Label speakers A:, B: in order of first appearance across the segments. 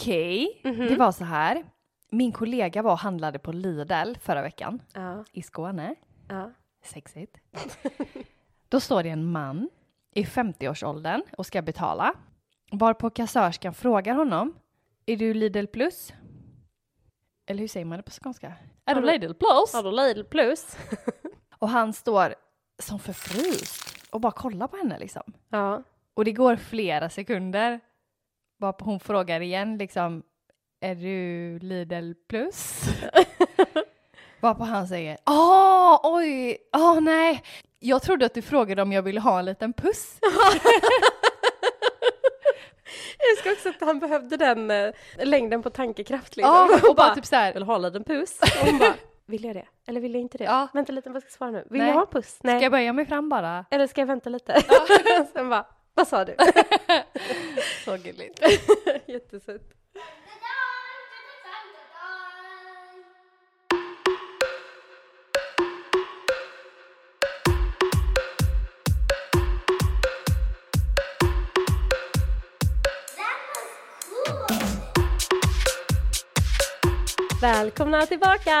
A: Okej,
B: Mhm.
A: det var så här. Min kollega var och handlade på Lidl förra veckan
B: Ja.
A: i Skåne.
B: ja.
A: Sexigt. Då står det en man i 50-årsåldern och ska betala. Varpå kassörskan frågar honom. Är du Lidl plus? Eller hur säger man det på skånska? Är du
B: Har du-
A: Lidl plus?
B: Har du Lidl plus?
A: Och han står som förfryst och bara kollar på henne liksom.
B: Ja.
A: Och det går flera sekunder. Bara på- hon frågar igen liksom. Är du Lidl plus? Varpå han säger. Åh, oj, åh nej. Jag trodde att du frågade om jag ville ha en liten puss.
B: Jag ska också att han behövde den eh, längden på tankekraft liksom.
A: Ja, och bara typ så här.
B: vill ha en liten puss. Och hon bara, vill jag det? Eller vill jag inte det?
A: Ja.
B: Vänta lite, vad ska jag svara nu? Vill
A: Nej.
B: jag ha en puss? Nej.
A: Ska jag böja mig fram bara?
B: Eller ska jag vänta lite? Sen bara, vad sa du?
A: Så gulligt.
B: Jättesött. Välkomna tillbaka!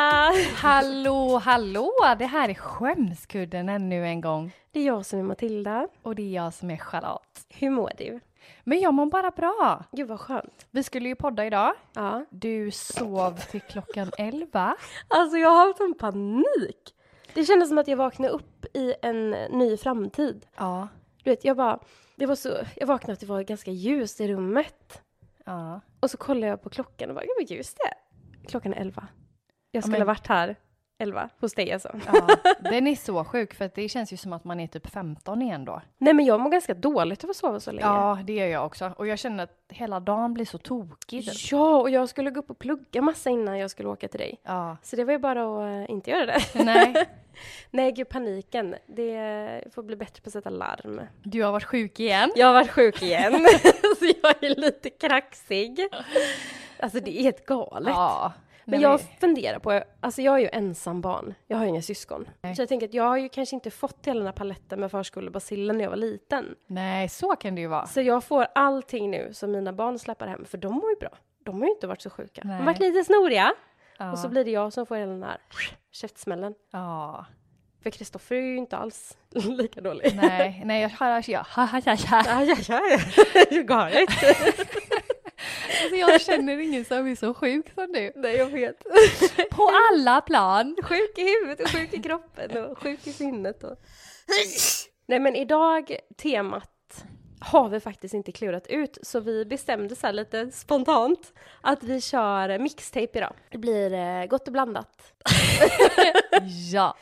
A: Hallå, hallå! Det här är Skämskudden ännu en gång.
B: Det är jag som är Matilda.
A: Och det är jag som är Charlotte.
B: Hur mår du?
A: Men jag mår bara bra.
B: Gud vad skönt.
A: Vi skulle ju podda idag.
B: Ja.
A: Du sov till klockan 11.
B: Alltså jag har haft en panik. Det kändes som att jag vaknade upp i en ny framtid.
A: Ja.
B: Du vet, jag bara, det var så, jag vaknade att det var ganska ljust i rummet.
A: Ja.
B: Och så kollade jag på klockan och bara, gud vad ljust det är. Klockan är elva. Jag skulle
A: men-
B: ha varit här elva hos dig alltså.
A: ja. Den är så sjuk för att det känns ju som att man är typ 15 igen då.
B: Nej men jag mår ganska dåligt av att sova så länge.
A: Ja, det gör jag också. Och jag känner att hela dagen blir så tokig. typ.
B: ja, och jag skulle gå upp och plugga massa innan jag skulle åka till dig.
A: Ja.
B: Så det var ju bara att eh, inte göra det.
A: Nej,
B: Nej gud, paniken. Det jag får bli bättre på att sätta larm.
A: du har varit sjuk igen.
B: Jag har varit sjuk igen, så jag är lite kraxig. Alltså det är helt galet.
A: Ja.
B: men
A: Nej,
B: jag funderar på, alltså jag är ju ensam barn, jag har ju inga syskon.
A: Nej.
B: Så jag tänker att jag har ju kanske inte fått hela den här paletten med förskolebasillen när jag var liten.
A: Nej, så kan det ju vara.
B: Så jag får allting nu som mina barn släpper hem, för de mår ju bra. De har ju inte varit så sjuka. De har
A: Nej.
B: varit lite snoriga.
A: Ja.
B: Och så blir det jag som får hela den här käftsmällen.
A: ja.
B: För Kristoffer är ju inte alls lika dålig.
A: Nej, nej, jag har... Jag, alltså,
B: Aj, aj, aj. Det är galet.
A: Alltså, jag känner ingen som är så sjuk som du.
B: Nej, jag vet.
A: På alla plan.
B: Sjuk i huvudet och sjuk i kroppen och sjuk i sinnet. Och... Nej men idag, temat har vi faktiskt inte klurat ut så vi bestämde så här lite spontant att vi kör eh, mixtape idag. Det blir eh, gott och blandat.
A: Ja.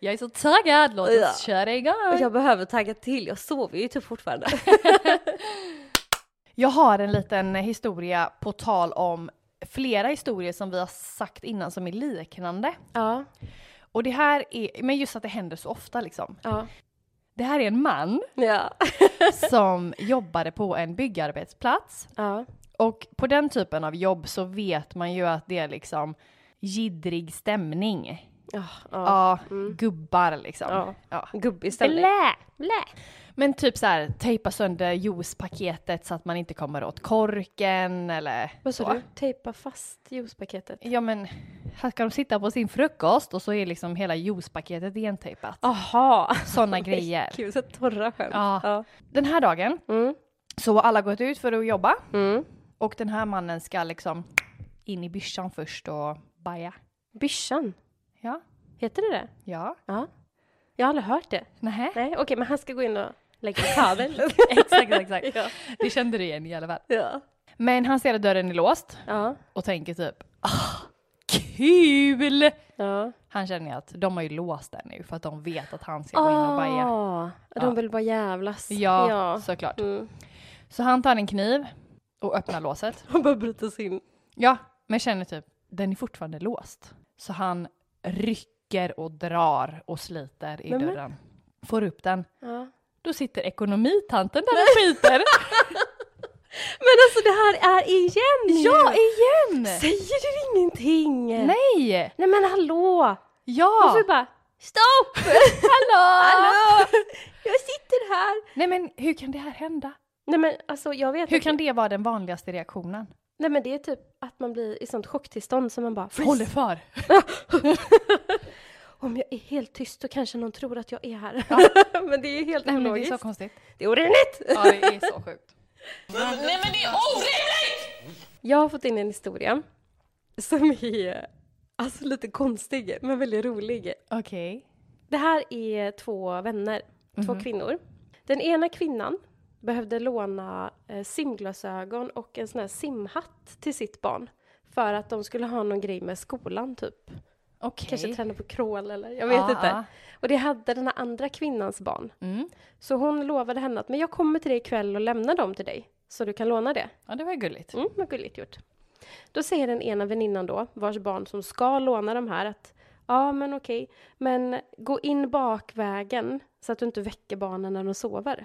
A: Jag är så taggad, låt oss
B: Ja.
A: köra igång.
B: Och jag behöver tagga till, jag sover ju typ fortfarande.
A: Jag har en liten historia på tal om flera historier som vi har sagt innan som är liknande.
B: Ja,
A: Och det här är, men just att det händer så ofta liksom.
B: ja,
A: Det här är en man
B: ja,
A: som jobbade på en byggarbetsplats.
B: ja,
A: Och på den typen av jobb så vet man ju att det är liksom jiddrig stämning.
B: ja, ja. Mm.
A: Ja, gubbar liksom.
B: Ja.
A: Ja.
B: Gubbig ställning.
A: Blä, blä. Men typ så här, tejpa sönder juicepaketet så att man inte kommer åt korken eller
B: Vad
A: så.
B: sa du? Tejpa fast juicepaketet.
A: Ja men, här ska de sitta på sin frukost och så är liksom hela juicepaketet igentejpat.
B: Aha.
A: Sådana grejer.
B: Gud, så torra skämt.
A: Ja. Den här dagen
B: Mm.
A: så har alla gått ut för att jobba
B: Mm.
A: och den här mannen ska liksom in i byschan först och baja.
B: Byschan,
A: Ja,
B: heter det det?
A: ja,
B: Ja. Jag har aldrig hört det.
A: nähä.
B: Nej, okej, men han ska gå in och lägga en kabel.
A: exakt, exakt.
B: ja.
A: Det kände du igen i alla fall.
B: Ja.
A: Men han ser att dörren är låst
B: Ja.
A: och tänker typ ah, kul!
B: Ja.
A: Han känner ju att de har ju låst den nu för att de vet att han ska gå in och baja.
B: Ah, de
A: Ja.
B: vill bara jävlas.
A: Ja, såklart.
B: Mm.
A: Så han tar en kniv och öppnar låset.
B: Han bara bryter sig in.
A: Ja, men känner typ, den är fortfarande låst. Så han rycker och drar och sliter i
B: Nej, men-
A: dörren. Får upp den.
B: Ja.
A: Då sitter ekonomitanten där och skiter.
B: Men alltså det här är igen!
A: ja, igen!
B: Säger du ingenting?
A: Nej!
B: Nej men hallå!
A: Ja!
B: Varför bara Stopp!
A: Hallå!
B: hallå! Jag sitter här!
A: Nej men hur kan det här hända?
B: Nej men alltså jag vet
A: Hur kan det vara den vanligaste reaktionen?
B: Nej men det är typ att man blir i sånt chocktillstånd som man bara
A: Håller
B: freeze.
A: för.
B: Om jag är helt tyst så kanske någon tror att jag är här.
A: Ja.
B: men det är helt
A: Nej, men det är
B: ologiskt.
A: så konstigt.
B: det är orimligt!
A: Ja, det är så sjukt.
B: Jag har fått in en historia som är alltså lite konstig men väldigt rolig.
A: Okej.
B: Det här är två vänner,
A: Mhm.
B: två kvinnor. Den ena kvinnan behövde låna eh, simglasögon och en sån här simhatt till sitt barn för att de skulle ha någon grej med skolan typ.
A: Okej. Ah,
B: Kanske träna på crawl eller jag vet
A: Ja,
B: inte.
A: ja.
B: Och det hade den här andra kvinnans barn.
A: Mm.
B: Så hon lovade henne att men jag kommer till dig ikväll och lämnar dem till dig så du kan låna det.
A: Ja, det var ju gulligt.
B: Mm, vad gulligt gjort. Då säger den ena väninnan då, vars barn som ska låna de här, att ja men okej, men gå in bakvägen så att du inte väcker barnen när de sover.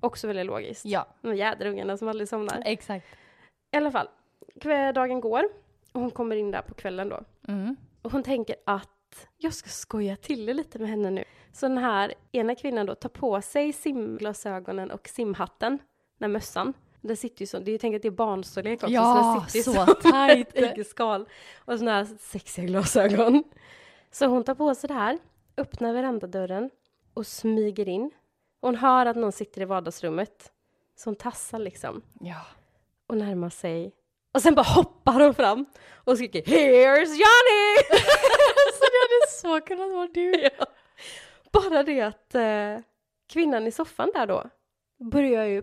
B: Också väldigt logiskt.
A: Ja,
B: De jäderungarna som aldrig somnar.
A: exakt.
B: I alla fall, kväll, dagen går och hon kommer in där på kvällen då.
A: Mm.
B: Och hon tänker att jag ska skoja till det lite med henne nu. Så den här ena kvinnan då tar på sig simglasögonen och simhatten, den här mössan. Den sitter ju så, det är ju tänk att det är barnstorlek också. så
A: Ja,
B: den sitter
A: så
B: ju som
A: tajt.
B: ett äggskal. Och såna här sexiga glasögon. Så hon tar på sig det här, öppnar verandadörren och smyger in. Hon hör att någon sitter i vardagsrummet. Så hon tassar liksom
A: Ja.
B: och närmar sig. Och sen bara hoppar hon fram och skriker “Here's Johnny!”
A: Alltså det hade så kunnat vara du.
B: Ja. Bara det att eh, kvinnan i soffan där då börjar ju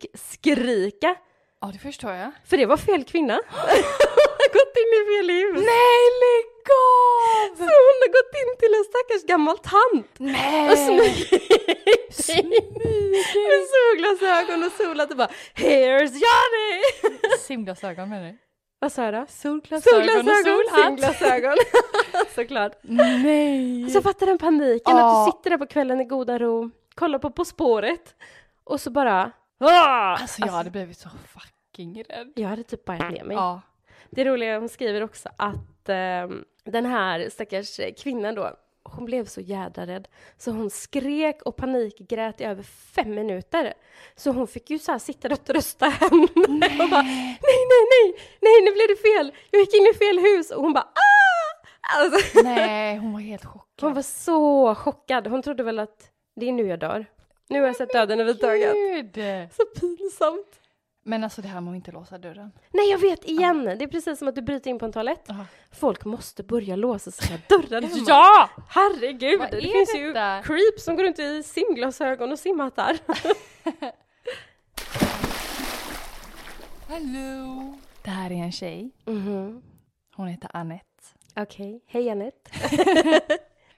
B: panikskrika.
A: Ja, det förstår jag.
B: För det var fel kvinna. hon har gått in i fel hus.
A: Nej, lägg
B: Så
A: av!
B: hon har gått in till en stackars gammal tant och
A: Nej!
B: smugit med
A: Smyger!
B: solglasögon och solat och bara “Here's Johnny!”
A: Simglasögon menar du?
B: Vad sa jag då?
A: Solglasögon,
B: Solglasögon,
A: och solhatt.
B: simglasögon. Såklart.
A: Nej!
B: Så fatta den paniken
A: Ja.
B: att du sitter där på kvällen i goda ro, kollar på På spåret och så bara... Ah!
A: Alltså jag hade blivit så fucking rädd.
B: jag hade typ bajat ner mig.
A: Ja.
B: Det roliga är att hon skriver också att ehm, den här stackars eh, kvinnan då, hon blev så jädra rädd så hon skrek och panikgrät i över fem minuter. Så hon fick ju så här sitta och trösta henne och bara nej, nej, nej, nej, nu blev det fel, jag gick in i fel hus och hon bara ah! Alltså,
A: Nej, hon var helt chockad.
B: hon var så chockad, hon trodde väl att det är nu jag dör. Nu har jag sett döden överhuvudtaget.
A: Gud!
B: Så pinsamt.
A: Men alltså det här med att inte låsa dörren.
B: Nej, jag vet igen, det är precis som att du bryter in på en toalett. Folk måste börja låsa sina dörrar hemma.
A: Alltså, Ja!
B: Herregud,
A: Vad
B: det
A: är
B: finns
A: detta?
B: ju creeps som går runt i simglasögon och simhattar.
A: Hallå! Det här är en tjej.
B: Mhm.
A: Hon heter Annette.
B: Okej, hej Anette.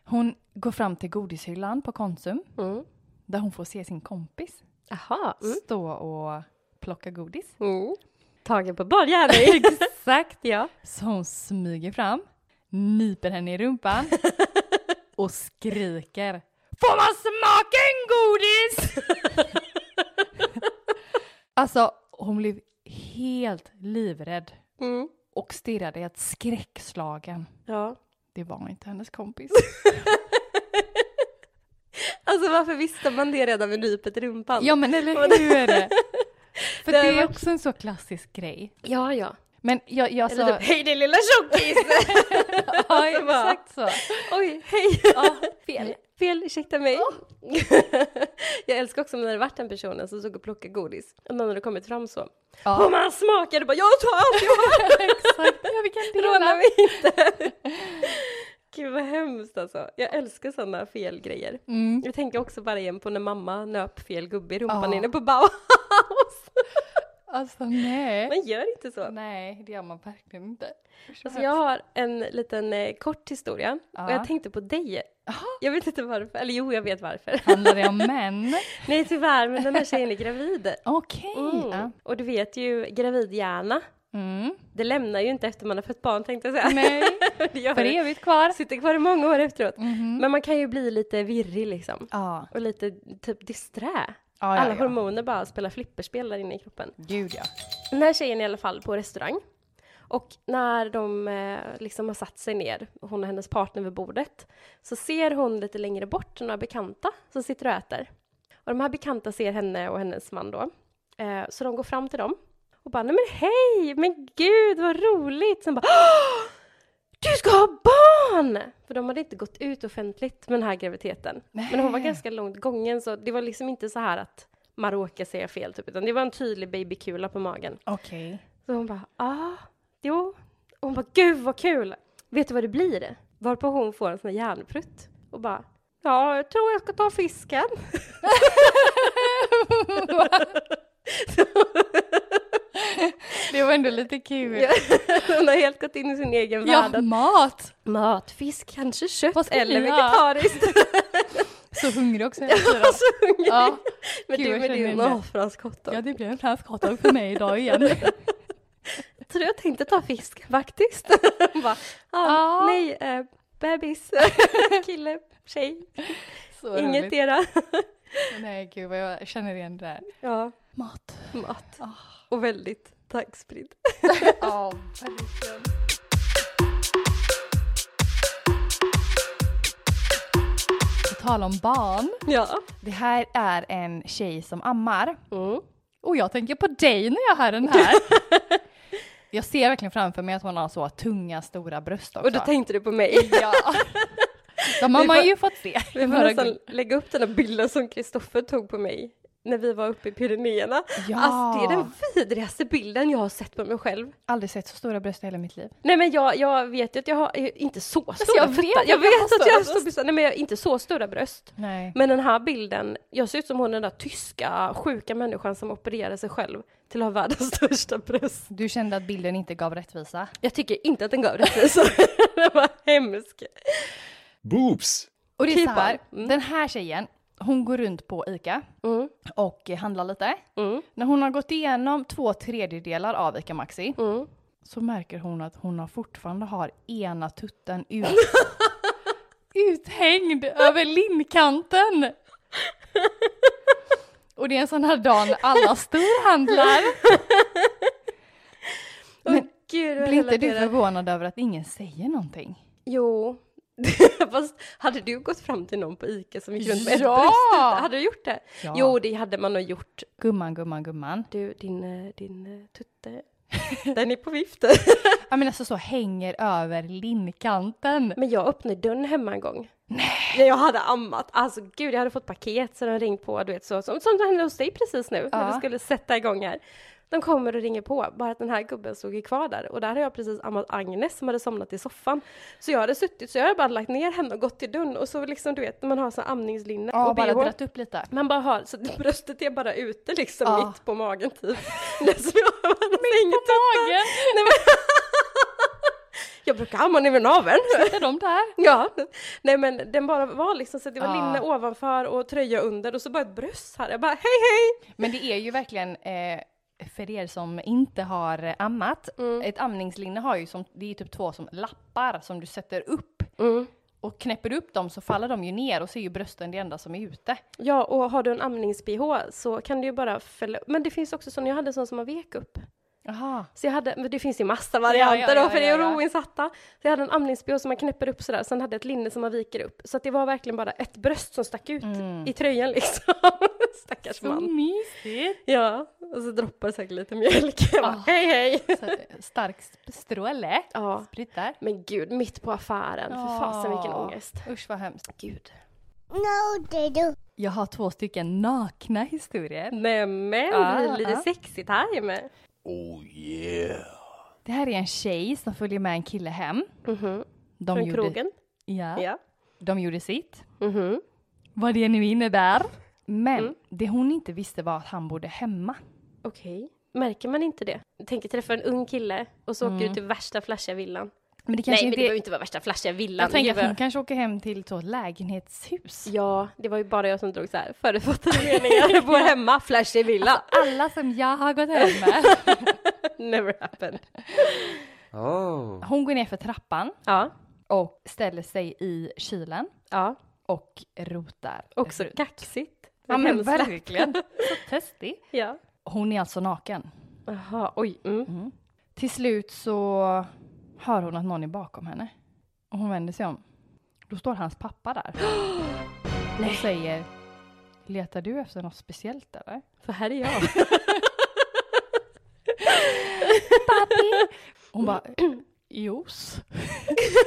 A: Hon går fram till godishyllan på Konsum
B: Mm.
A: där hon får se sin kompis
B: Aha. Mm.
A: stå och plocka godis.
B: Mm. Tagen på bar gärning.
A: Exakt!
B: ja.
A: Så hon smyger fram, nyper henne i rumpan och skriker Får man smaka en godis? alltså, hon blev helt livrädd
B: Mm.
A: och stirrade helt skräckslagen.
B: ja.
A: Det var inte hennes kompis.
B: Alltså varför visste man det redan vid nypet i rumpan?
A: ja men eller hur? För
B: Det
A: det
B: har
A: är
B: varit-
A: också en så klassisk grej.
B: ja. ja.
A: Men jag, jag
B: Eller
A: sa...
B: typ, hej din lilla tjockis!
A: ja,
B: så bara-
A: exakt så.
B: Oj, hej!
A: Ja,
B: Fel, fel, ursäkta mig. jag älskar också när det varit den personen alltså, som stod och plockade godis. Och någon hade kommit fram så.
A: Ja.
B: Och man smakade bara, jag tar allt jag har!
A: exakt. Ja, vi kan
B: Råna
A: dela.
B: mig inte! Gud vad hemskt alltså. Jag älskar sådana fel grejer.
A: Mm.
B: Jag tänker också bara igen på när mamma nöp fel gubbe i rumpan
A: Ja.
B: inne på Bauhaus.
A: Alltså nej.
B: Man gör inte så.
A: Nej, det gör man verkligen inte.
B: Alltså jag har en liten eh, kort historia. Och
A: Ja.
B: jag tänkte på dig. Jag vet inte varför. Eller jo, jag vet varför.
A: Handlar det om män?
B: Nej tyvärr, men den här tjejen är gravid.
A: Okej.
B: Mm.
A: Ja.
B: Och du vet ju, gravidhjärna,
A: Mm.
B: det lämnar ju inte efter man har fött barn tänkte jag säga.
A: Nej,
B: det gör
A: för
B: det.
A: evigt kvar.
B: Sitter kvar i många år efteråt.
A: Mhm.
B: Men man kan ju bli lite virrig liksom.
A: Ja,
B: Och lite typ disträ.
A: ja,
B: Alla
A: ja, ja.
B: hormoner bara spelar flipperspel där inne i kroppen.
A: Gud ja.
B: Den här tjejen är i alla fall på restaurang. Och när de eh, liksom har satt sig ner, hon och hennes partner vid bordet, så ser hon lite längre bort några bekanta som sitter och äter. Och de här bekanta ser henne och hennes man då. Eh, så de går fram till dem. Och bara, nej men hej, men gud vad roligt! Sen bara, "Åh! du ska ha barn! För de hade inte gått ut offentligt med den här graviditeten. Men hon var
A: Nej.
B: ganska långt gången så det var liksom inte så här att man råkar säga fel typ, utan det var en tydlig babykula på magen.
A: Okej.
B: Så hon bara, ah, jo. Och hon bara, gud vad kul! Vet du vad det blir? Varpå hon får en sån här järnprutt och bara, ja, jag tror jag ska ta fisken.
A: det var ändå lite kul.
B: hon har helt gått in i sin egen värld.
A: Ja,
B: att
A: mat!
B: Mat, fisk, kanske
A: Vad
B: kött
A: ska vi
B: eller
A: ha?
B: vegetariskt.
A: Så hungrig också hela tiden.
B: Och så hungrig.
A: Ja.
B: men
A: gud,
B: du
A: jag
B: med
A: känner
B: din
A: det.
B: afransk hotdog.
A: Ja, det blev en franskhatdog för mig idag igen.
B: Jag tror jag tänkte ta fisk faktiskt. Hon bara, ah,
A: Ja.
B: nej, eh, bebis, kille, tjej,
A: Så roligt.
B: ingetdera.
A: Nej, gud vad jag känner igen det där.
B: ja,
A: Mat.
B: mat.
A: Ah.
B: Och väldigt tackspridd.
A: Ja, På tal om barn.
B: Ja.
A: Det här är en tjej som ammar.
B: Mm.
A: Och jag tänker på dig när jag hör den här. jag ser verkligen framför mig att hon har så tunga, stora bröst också.
B: Och då tänkte du på mig.
A: Ja. De har
B: Vi
A: man
B: får-
A: ju fått se.
B: Vi får
A: Några
B: nästan lägga upp den här bilden som Kristoffer tog på mig när vi var uppe i Pyrenéerna.
A: Ja.
B: Alltså det är den vidrigaste bilden jag har sett på mig själv.
A: Aldrig sett så stora bröst i hela mitt liv.
B: Nej men jag, jag vet ju att jag har, eh, inte så stora
A: Alltså, jag
B: fötter.
A: vet att
B: jag
A: jag
B: vet
A: har
B: att
A: stora
B: jag har stora bröst. Nej men jag har inte så stora bröst.
A: Nej.
B: Men den här bilden, jag ser ut som hon den där tyska sjuka människan som opererade sig själv till att ha världens största bröst.
A: Du kände att bilden inte gav rättvisa?
B: Jag tycker inte att den gav rättvisa. den var hemsk.
C: Boobs!
A: Och det är så
B: Keep
A: här,
B: on. Mm.
A: den här tjejen, hon går runt på ICA
B: Mm,
A: och eh, handlar lite.
B: mm,
A: När hon har gått igenom två tredjedelar av ICA Maxi
B: mm.
A: så märker hon att hon har fortfarande har ena tutten ut, uthängd över linnkanten. Och det är en sån här dag när alla storhandlar.
B: Åh, gud, vad
A: Blir inte du
B: relaterar.
A: förvånad över att ingen säger någonting?
B: Jo. Fast hade du gått fram till någon på ICA som gick runt med
A: Ja!
B: ett bröst ute? Hade du gjort det?
A: Ja.
B: Jo, det hade man nog gjort.
A: Gumman, gumman, gumman.
B: Du, din, eh, din eh, tutte, den är på vift.
A: Ja men alltså så hänger över linnkanten.
B: Men jag öppnade dörren hemma en gång. När jag hade ammat. Alltså gud, jag hade fått paket så de ringt på, du vet så. Som, som det hände hos dig precis nu, när
A: Ja.
B: du skulle sätta igång här. De kommer och ringer på, bara att den här gubben stod ju kvar där. Och där hade jag precis ammat Agnes som hade somnat i soffan. Så jag hade suttit, så jag hade bara lagt ner henne och gått till dörren. Och så liksom, du vet, när man har sån amningslinne
A: Ja,
B: och
A: bara
B: bh.
A: dratt upp lite.
B: Man bara har, så bröstet är bara ute liksom
A: Ja.
B: mitt på magen typ. Liksom, jag, hade inget
A: Magen,
B: Nej, men... jag brukar amma ner vid naveln.
A: sitter de där?
B: Ja, nej men den bara var liksom så att det var
A: Ja.
B: linne ovanför och tröja under och så bara ett bröst här. Jag bara hej hej!
A: Men det är ju verkligen, eh, för er som inte har eh, ammat,
B: Mm.
A: ett amningslinne har ju som, det är typ två som lappar som du sätter upp. Och knäpper du upp dem så faller de ju ner och så är ju brösten det enda som är ute.
B: Ja, och har du en amnings-bh så kan du ju bara fälla Men det finns också sån, jag hade en sån som man vek upp.
A: Jaha.
B: Så jag hade, men det finns ju massa varianter
A: Ja, ja,
B: då, för
A: ja,
B: det är
A: ja, ja.
B: roinsatta. Så jag hade en amnings-bh som man knäpper upp sådär, sen hade jag ett linne som man viker upp. Så att det var verkligen bara ett bröst som stack ut
A: Mm.
B: i tröjan liksom. Stackars
A: Så
B: man.
A: mysigt!
B: Ja, och så droppar det säkert lite mjölk. Jag bara,
A: Ah.
B: hej hej!
A: Så, att, eh, stark sp- stråle.
B: Ja,
A: Sprutar.
B: men gud, mitt på affären.
A: Ah.
B: För fasen vilken
A: Ja.
B: ångest.
A: Usch vad hemskt.
B: Gud.
D: No, they do.
A: Jag har två stycken nakna historier.
B: Nämen,
A: Ja,
B: det blir lite
A: ja.
B: sexigt här ju med.
C: Oh yeah!
A: Det här är en tjej som följer med en kille hem.
B: Mhm.
A: De
B: Från krogen.
A: Ja,
B: Ja.
A: De gjorde sitt.
B: Mhm.
A: Vad det nu innebär. Men
B: Mm.
A: det hon inte visste var att han bodde hemma.
B: Okej. Märker man inte det? Tänker träffa en ung kille och så
A: Mm.
B: åker du till värsta flashiga villan.
A: Men det kanske
B: Nej, men det
A: inte...
B: behöver inte vara värsta flashiga villan.
A: jag tänker
B: Det
A: att hon
B: var-
A: kanske åker hem till ett lägenhetshus.
B: Ja, det var ju bara jag som drog så här förutfattade meningar. Jag bor hemma, flashig villa.
A: Alla som jag har gått hem med.
B: Never happened.
C: Oh!
A: Hon går ner för trappan
B: Ja,
A: och ställer sig i kylen
B: ja.
A: och rotar.
B: Också
A: runt.
B: kaxigt.
A: Ja men
B: Hemskt.
A: verkligen. Så testig.
B: Ja.
A: Hon är alltså naken.
B: Jaha, oj. Mm.
A: Till slut så hör hon att någon är bakom henne. Och hon vänder sig om. Då står hans pappa där. Och säger Letar du efter något speciellt eller?
B: För här är jag.
A: Hon bara, juice.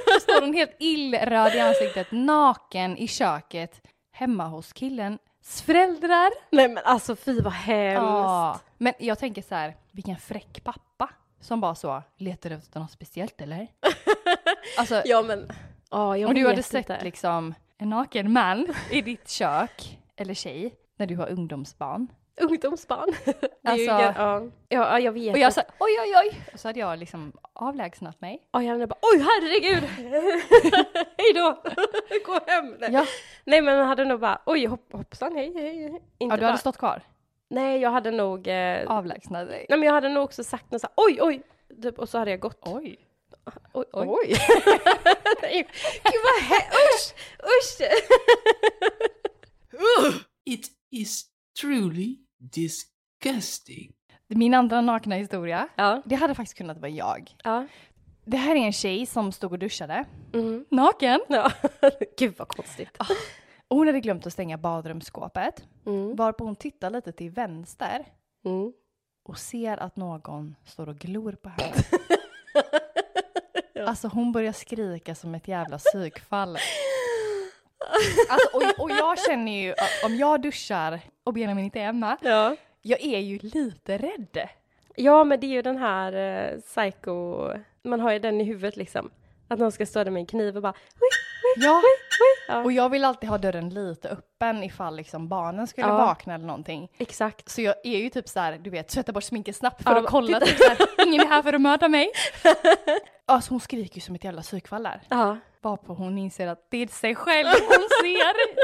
A: Står hon helt illröd i ansiktet, naken i köket, hemma hos killens föräldrar.
B: Nej men alltså fy vad hemskt.
A: Ja, men jag tänker så här, vilken fräck pappa som bara så, letar du efter något speciellt eller? alltså,
B: Ja men, ja jag
A: om du
B: vet
A: hade sett
B: inte.
A: liksom en naken man i ditt kök, eller tjej, när du har ungdomsbarn.
B: Ungdomsbarn. Det är ju
A: Alltså-
B: gar- ja. ja, jag vet.
A: Och jag sa oj, oj, oj, och så hade jag liksom avlägsnat mig.
B: Ja, jag bara oj herregud! hej då! Gå hem! Nej.
A: Ja,
B: Nej men jag hade nog bara oj hopp, hoppsan hej hej. hej." Inte
A: ja du
B: bara,
A: hade stått kvar,
B: Nej jag hade nog, eh,
A: avlägsnat dig.
B: nej men jag hade nog också sagt något så här, oj oj! Typ, och så hade jag gått.
A: Oj.
B: Oj,
A: Oj.
B: Nej, Gud vad he- usch, usch!
E: It is truly disgusting.
A: Min andra nakna historia,
B: Ja,
A: det hade faktiskt kunnat vara jag.
B: ja.
A: Det här är en tjej som stod och duschade,
B: Mm.
A: naken.
B: ja. Gud vad konstigt.
A: Och hon hade glömt att stänga badrumsskåpet,
B: Mm.
A: varpå hon tittar lite till vänster
B: Mm.
A: och ser att någon står och glor på henne. Alltså hon börjar skrika som ett jävla psykfall. Alltså, och, och jag känner ju, om jag duschar och Benjamin inte är hemma,
B: Ja.
A: jag är ju lite rädd.
B: ja men det är ju den här eh, psycho, man har ju den i huvudet liksom. Att någon ska stå där med en kniv och bara oj,
A: Ja,
B: Ja.
A: och jag vill alltid ha dörren lite öppen ifall liksom barnen skulle
B: Ja.
A: vakna eller någonting.
B: Exakt.
A: Så jag är ju typ så här, du vet, tvätta bort sminket snabbt för
B: Ja,
A: att kolla.
B: titta.
A: Typ så här, Ingen är här för att mörda mig. Alltså hon skriker ju som ett jävla psykfall där.
B: Ja.
A: Varpå hon inser att det är sig själv hon ser.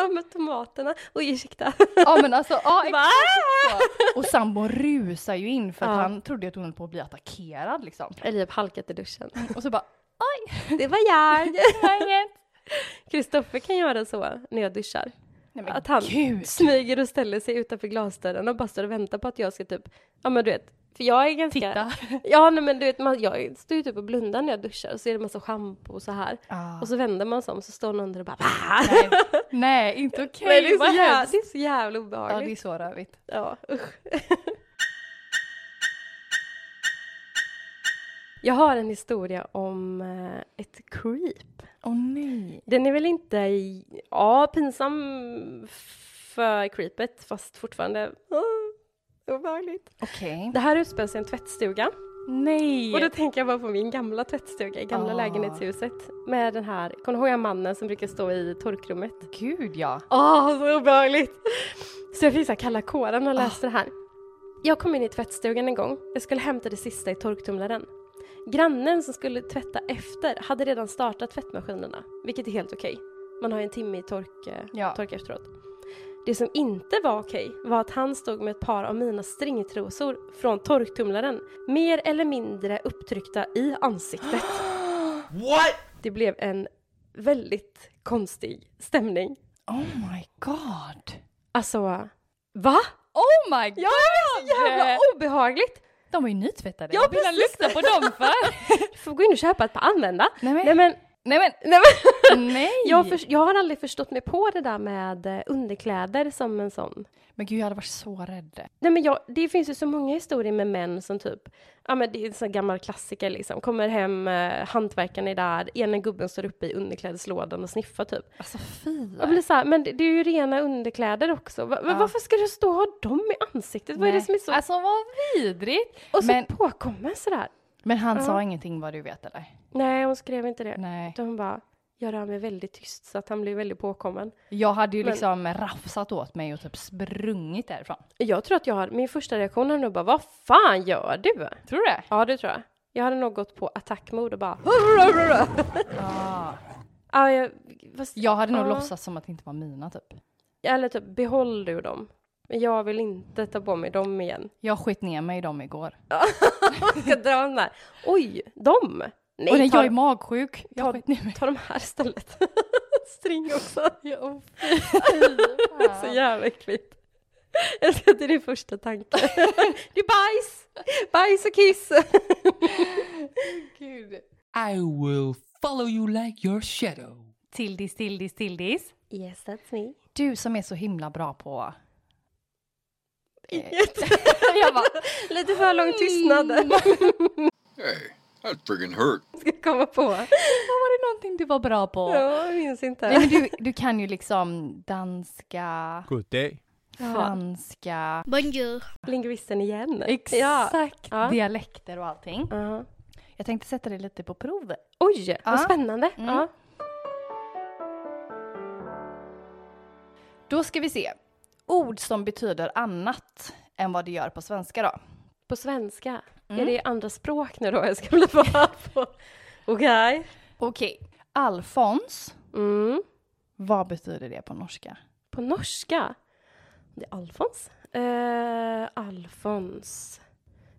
B: Så med tomaterna. Oj, ursäkta. "Ah!"
A: Ja men alltså, ja
B: Va?
A: exakt så. Och sambon rusar ju in för att
B: Ja.
A: han trodde att hon höll på att bli attackerad liksom.
B: Eller typ halkat i duschen.
A: Och så bara, oj,
B: Det var jag.
A: det var inget.
B: Kristoffer kan göra så när jag duschar.
A: Nej men
B: Att han
A: gud.
B: smyger och ställer sig utanför glasdörren och bara står och väntar på att jag ska typ, ja men du vet, för jag är ganska...
A: Titta.
B: Ja nej, men du vet, man, jag står ju typ och blundar när jag duschar och så är det massa schampo och så här.
A: Ah.
B: Och så vänder man sig om så står någon där och bara
A: Nej, nej, inte okej.
B: Nej, det, är
A: vad
B: så jävla,
A: hemskt.
B: det är så jävla
A: Ja, det är
B: obehagligt.
A: så rövigt.
B: Ja, usch. Jag har en historia om eh, ett creep.
A: Åh nej.
B: Den är väl inte, i- ja, pinsam för creepet, fast fortfarande ah, obehagligt.
A: Okej.
B: Det här utspelar sig i en tvättstuga.
A: Nej.
B: Och då tänker jag bara på min gamla tvättstuga i gamla
A: Ah.
B: lägenhetshuset. Med den här, kommer du ihåg mannen som brukar stå i torkrummet?
A: Gud ja.
B: Åh, så obehagligt! Så jag fick så här kalla kåren när jag läste det här. Jag kom in i tvättstugan en gång. Jag skulle hämta det sista i torktumlaren. Grannen som skulle tvätta efter hade redan startat tvättmaskinerna, vilket är helt okej. Man har ju en timme i tork, eh,
A: Ja.
B: tork efteråt. Det som inte var okej var att han stod med ett par av mina stringtrosor från torktumlaren, mer eller mindre upptryckta i ansiktet.
E: What?
B: Det blev en väldigt konstig stämning.
A: Oh my god.
B: Alltså, va?
A: Oh my god!
B: Ja, det är så jävla obehagligt!
A: De var ju nytvättade.
B: Ja,
A: Vad vill han
B: precis.
A: lukta på dem för?
B: Får gå in och köpa ett par använda.
A: nej men,
B: Nej men,
A: nej men,
B: nej men.
A: nej!
B: Jag, för, jag har aldrig förstått mig på det där med eh, underkläder som en sån.
A: Men gud jag hade varit så rädd.
B: Nej men jag, det finns ju så många historier med män som typ, ja men det är en sån gammal klassiker liksom, kommer hem, eh, hantverkaren är där, ena gubben står uppe i underklädeslådan och sniffar typ.
A: Alltså fy.
B: Jag blir så här, men det, det är ju rena underkläder också, va, va,
A: Ja.
B: varför ska du stå och ha dem i ansiktet? Vad är det
A: Nej.
B: som är så,
A: Alltså vad vidrigt!
B: och så
A: men-
B: påkommen sådär?
A: Men han
B: Ja.
A: sa ingenting vad du vet eller?
B: Nej hon skrev inte det.
A: Nej.
B: Då hon bara, jag rör mig väldigt tyst så att han blev väldigt påkommen.
A: Jag hade ju
B: Men-
A: liksom rafsat åt mig och typ sprungit därifrån.
B: Jag tror att jag har, min första reaktion är nog bara, vad fan gör du?
A: Tror du det?
B: Ja, det tror jag. Jag hade nog gått på attackmode och bara,
A: Ja.
B: ja, jag, fast,
A: Jag hade nog
B: Ja.
A: låtsats som att det inte var mina typ.
B: eller typ, behåll du dem. Men jag vill inte ta på mig dem igen.
A: Jag skit ner mig i dem igår.
B: Jag ska dra dem där. Oj, dem! Nej,
A: och när
B: ta,
A: jag är magsjuk, jag skit ner mig.
B: ta de här istället. String också.
A: Ja,
B: Så jävla äckligt. Jag ska till din första tanke. Det är bajs! Bajs och kiss!
A: gud.
E: I will follow you like your shadow.
A: Tildis, Tildis, Tildis.
B: Yes, that's me.
A: Du som är så himla bra på
B: Inget.
A: Jag bara,
B: Lite för lång
A: Mm.
B: tystnad där.
C: Hey, that friggin' hurt.
B: Ska komma på.
A: "Vad var det någonting du var bra på?
B: Ja, jag minns inte.
A: Nej men du, du kan ju liksom danska,
F: Good day.
A: franska,
D: Bonjour.
B: Lingvisten igen. Ja.
A: exakt,
B: Ja.
A: dialekter och allting.
B: Ja.
A: Jag tänkte sätta dig lite på prov.
B: Oj,
A: Ja.
B: vad spännande.
A: Mm.
B: Ja.
A: Då ska vi se. Ord som betyder annat än vad det gör på svenska då.
B: På svenska.
A: Mm.
B: Är det andra språk nu då jag ska bli bra på? Okej.
A: Okej. Alfons,
B: Mm.
A: vad betyder det på norska?
B: På norska? Det är Alfons. Eh, Alfons.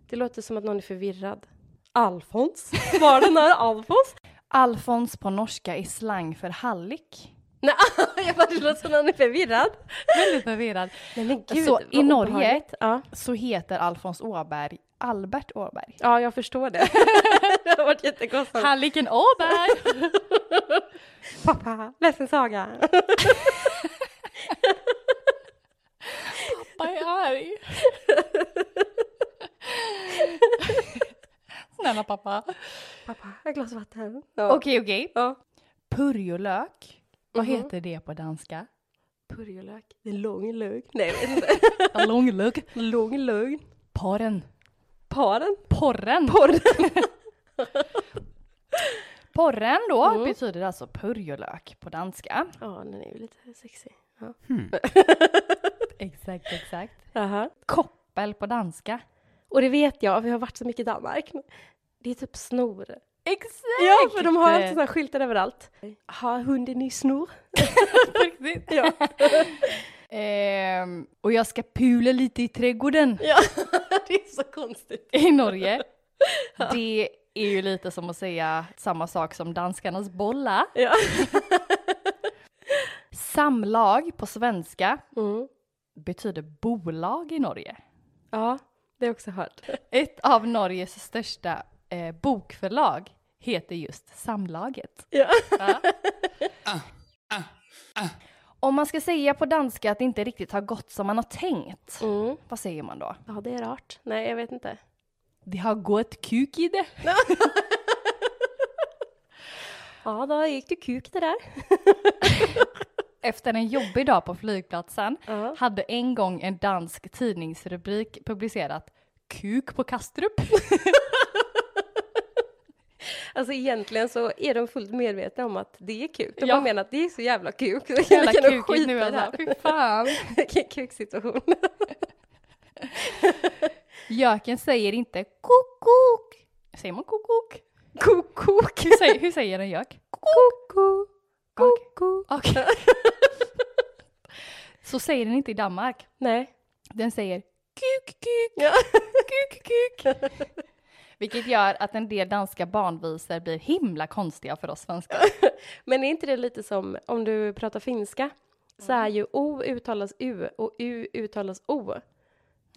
B: Det låter som att någon är förvirrad. Alfons? Var den här Alfons?
A: Alfons på norska är slang för hallick.
B: Nej, jag bara, det låter som att någon är förvirrad. Alltså,
A: Väldigt förvirrad.
B: Nej, men gud,
A: Så,
B: vad
A: i Norge-
B: obehagligt. Ja.
A: Så heter Alfons Åberg Albert Åberg.
B: ja, jag förstår det. det har varit jättekostsamt.
A: Hallicken Åberg!
B: Pappa, läs en saga.
A: Vad är arg? Snälla pappa.
B: Pappa, ett glas vatten. Ja.
A: Okej, okej.
B: Ja.
A: Purjolök, vad
B: Mhm.
A: heter det på danska?
B: Purjolök. Det är lång lögn. Nej, jag vet inte.
A: Långlök.
B: lång lögn.
A: Porren.
B: Paren.
A: Porren.
B: Porren.
A: Porren då
B: Mm.
A: betyder alltså purjolök på danska.
B: Ja, den är ju lite sexig.
A: Exakt, exakt.
B: Jaha.
A: Koppel på danska.
B: Och det vet jag, vi har varit så mycket i Danmark. Det är typ snor.
A: Exakt!
B: Ja, för de har alltid sådana här skyltar överallt. Har hunden i snor? Ja.
A: Ehm, och jag ska pula lite i trädgården
B: ja, det är så konstigt.
A: i Norge. Det är ju lite som att säga samma sak som danskarnas bolla.
B: Ja.
A: Samlag på svenska
B: Mm.
A: betyder bolag i Norge.
B: Ja, det har jag också hört.
A: Ett av Norges största eh, bokförlag heter just Samlaget.
B: Ja.
A: Ja. Om man ska säga på danska att det inte riktigt har gått som man har tänkt,
B: Mm.
A: vad säger man då?
B: Ja, det är rart. Nej, jag vet inte.
A: Det har gått kuk i det.
B: Ja, då gick det kuk det där.
A: Efter en jobbig dag på flygplatsen
B: Ja.
A: hade en gång en dansk tidningsrubrik publicerat Kuk på Kastrup.
B: Alltså egentligen så är de fullt medvetna om att det är kuk. De
A: Ja.
B: bara menar att det är så jävla kuk. Så
A: Jävla
B: vi kan nog
A: kukigt
B: skita i
A: nu
B: det
A: alltså.
B: här.
A: Fy fan.
B: Vilken kuksituation.
A: Göken säger inte kokok. Säger man kokok?
B: Koko.
A: Hur säger, hur säger en gök?
B: Koko.
A: Okej.
B: Koko.
A: Okej. Så säger den inte i Danmark.
B: Nej.
A: Den säger kuk, kuk,
B: Ja.
A: kuk, kuk. Vilket gör att en del danska barnvisor blir himla konstiga för oss svenskar.
B: Men är inte det lite som om du pratar finska? Så
A: Mm.
B: är ju O uttalas U och U uttalas O.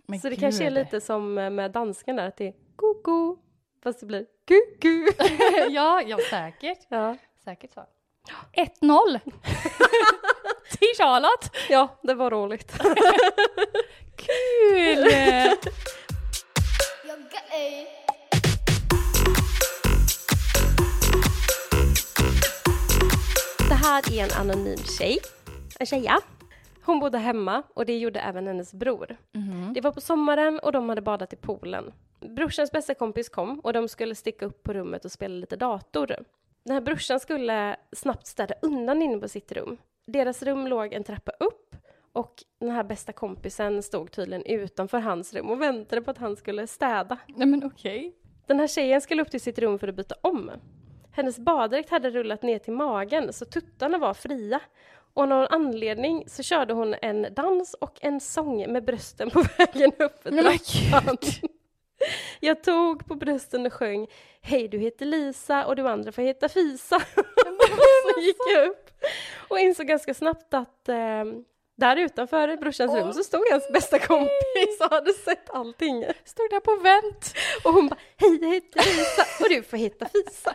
A: Men
B: så det
A: gud.
B: kanske är lite som med dansken där, att det är koko. Fast det blir kuku.
A: ja, ja, säkert.
B: Ja.
A: Säkert så. 1-0 till Charlotte.
B: ja, det var roligt.
A: Kul!
D: Jag är...
B: Det här är en anonym tjej. En tjeja. Hon bodde hemma och det gjorde även hennes bror. Det var på sommaren och de hade badat i poolen. Brorsans bästa kompis kom och de skulle sticka upp på rummet och spela lite dator. Den här brorsan skulle snabbt städa undan inne på sitt rum. Deras rum låg en trappa upp och den här bästa kompisen stod tydligen utanför hans rum och väntade på att han skulle städa.
A: Nej men okej.
B: Den här tjejen skulle upp till sitt rum för att byta om. Hennes baddräkt hade rullat ner till magen så tuttarna var fria. Och av någon anledning så körde hon en dans och en sång med brösten på vägen upp för
A: Men vad
B: trappan. Jag tog på brösten och sjöng Hej du heter Lisa och du andra får heta Fisa. och så gick jag upp och insåg ganska snabbt att eh, där utanför brorsans rum så stod hans bästa kompis och hade sett allting.
A: Stod där på vänt.
B: Och hon bara, hej jag heter Lisa och du får heta Fisa.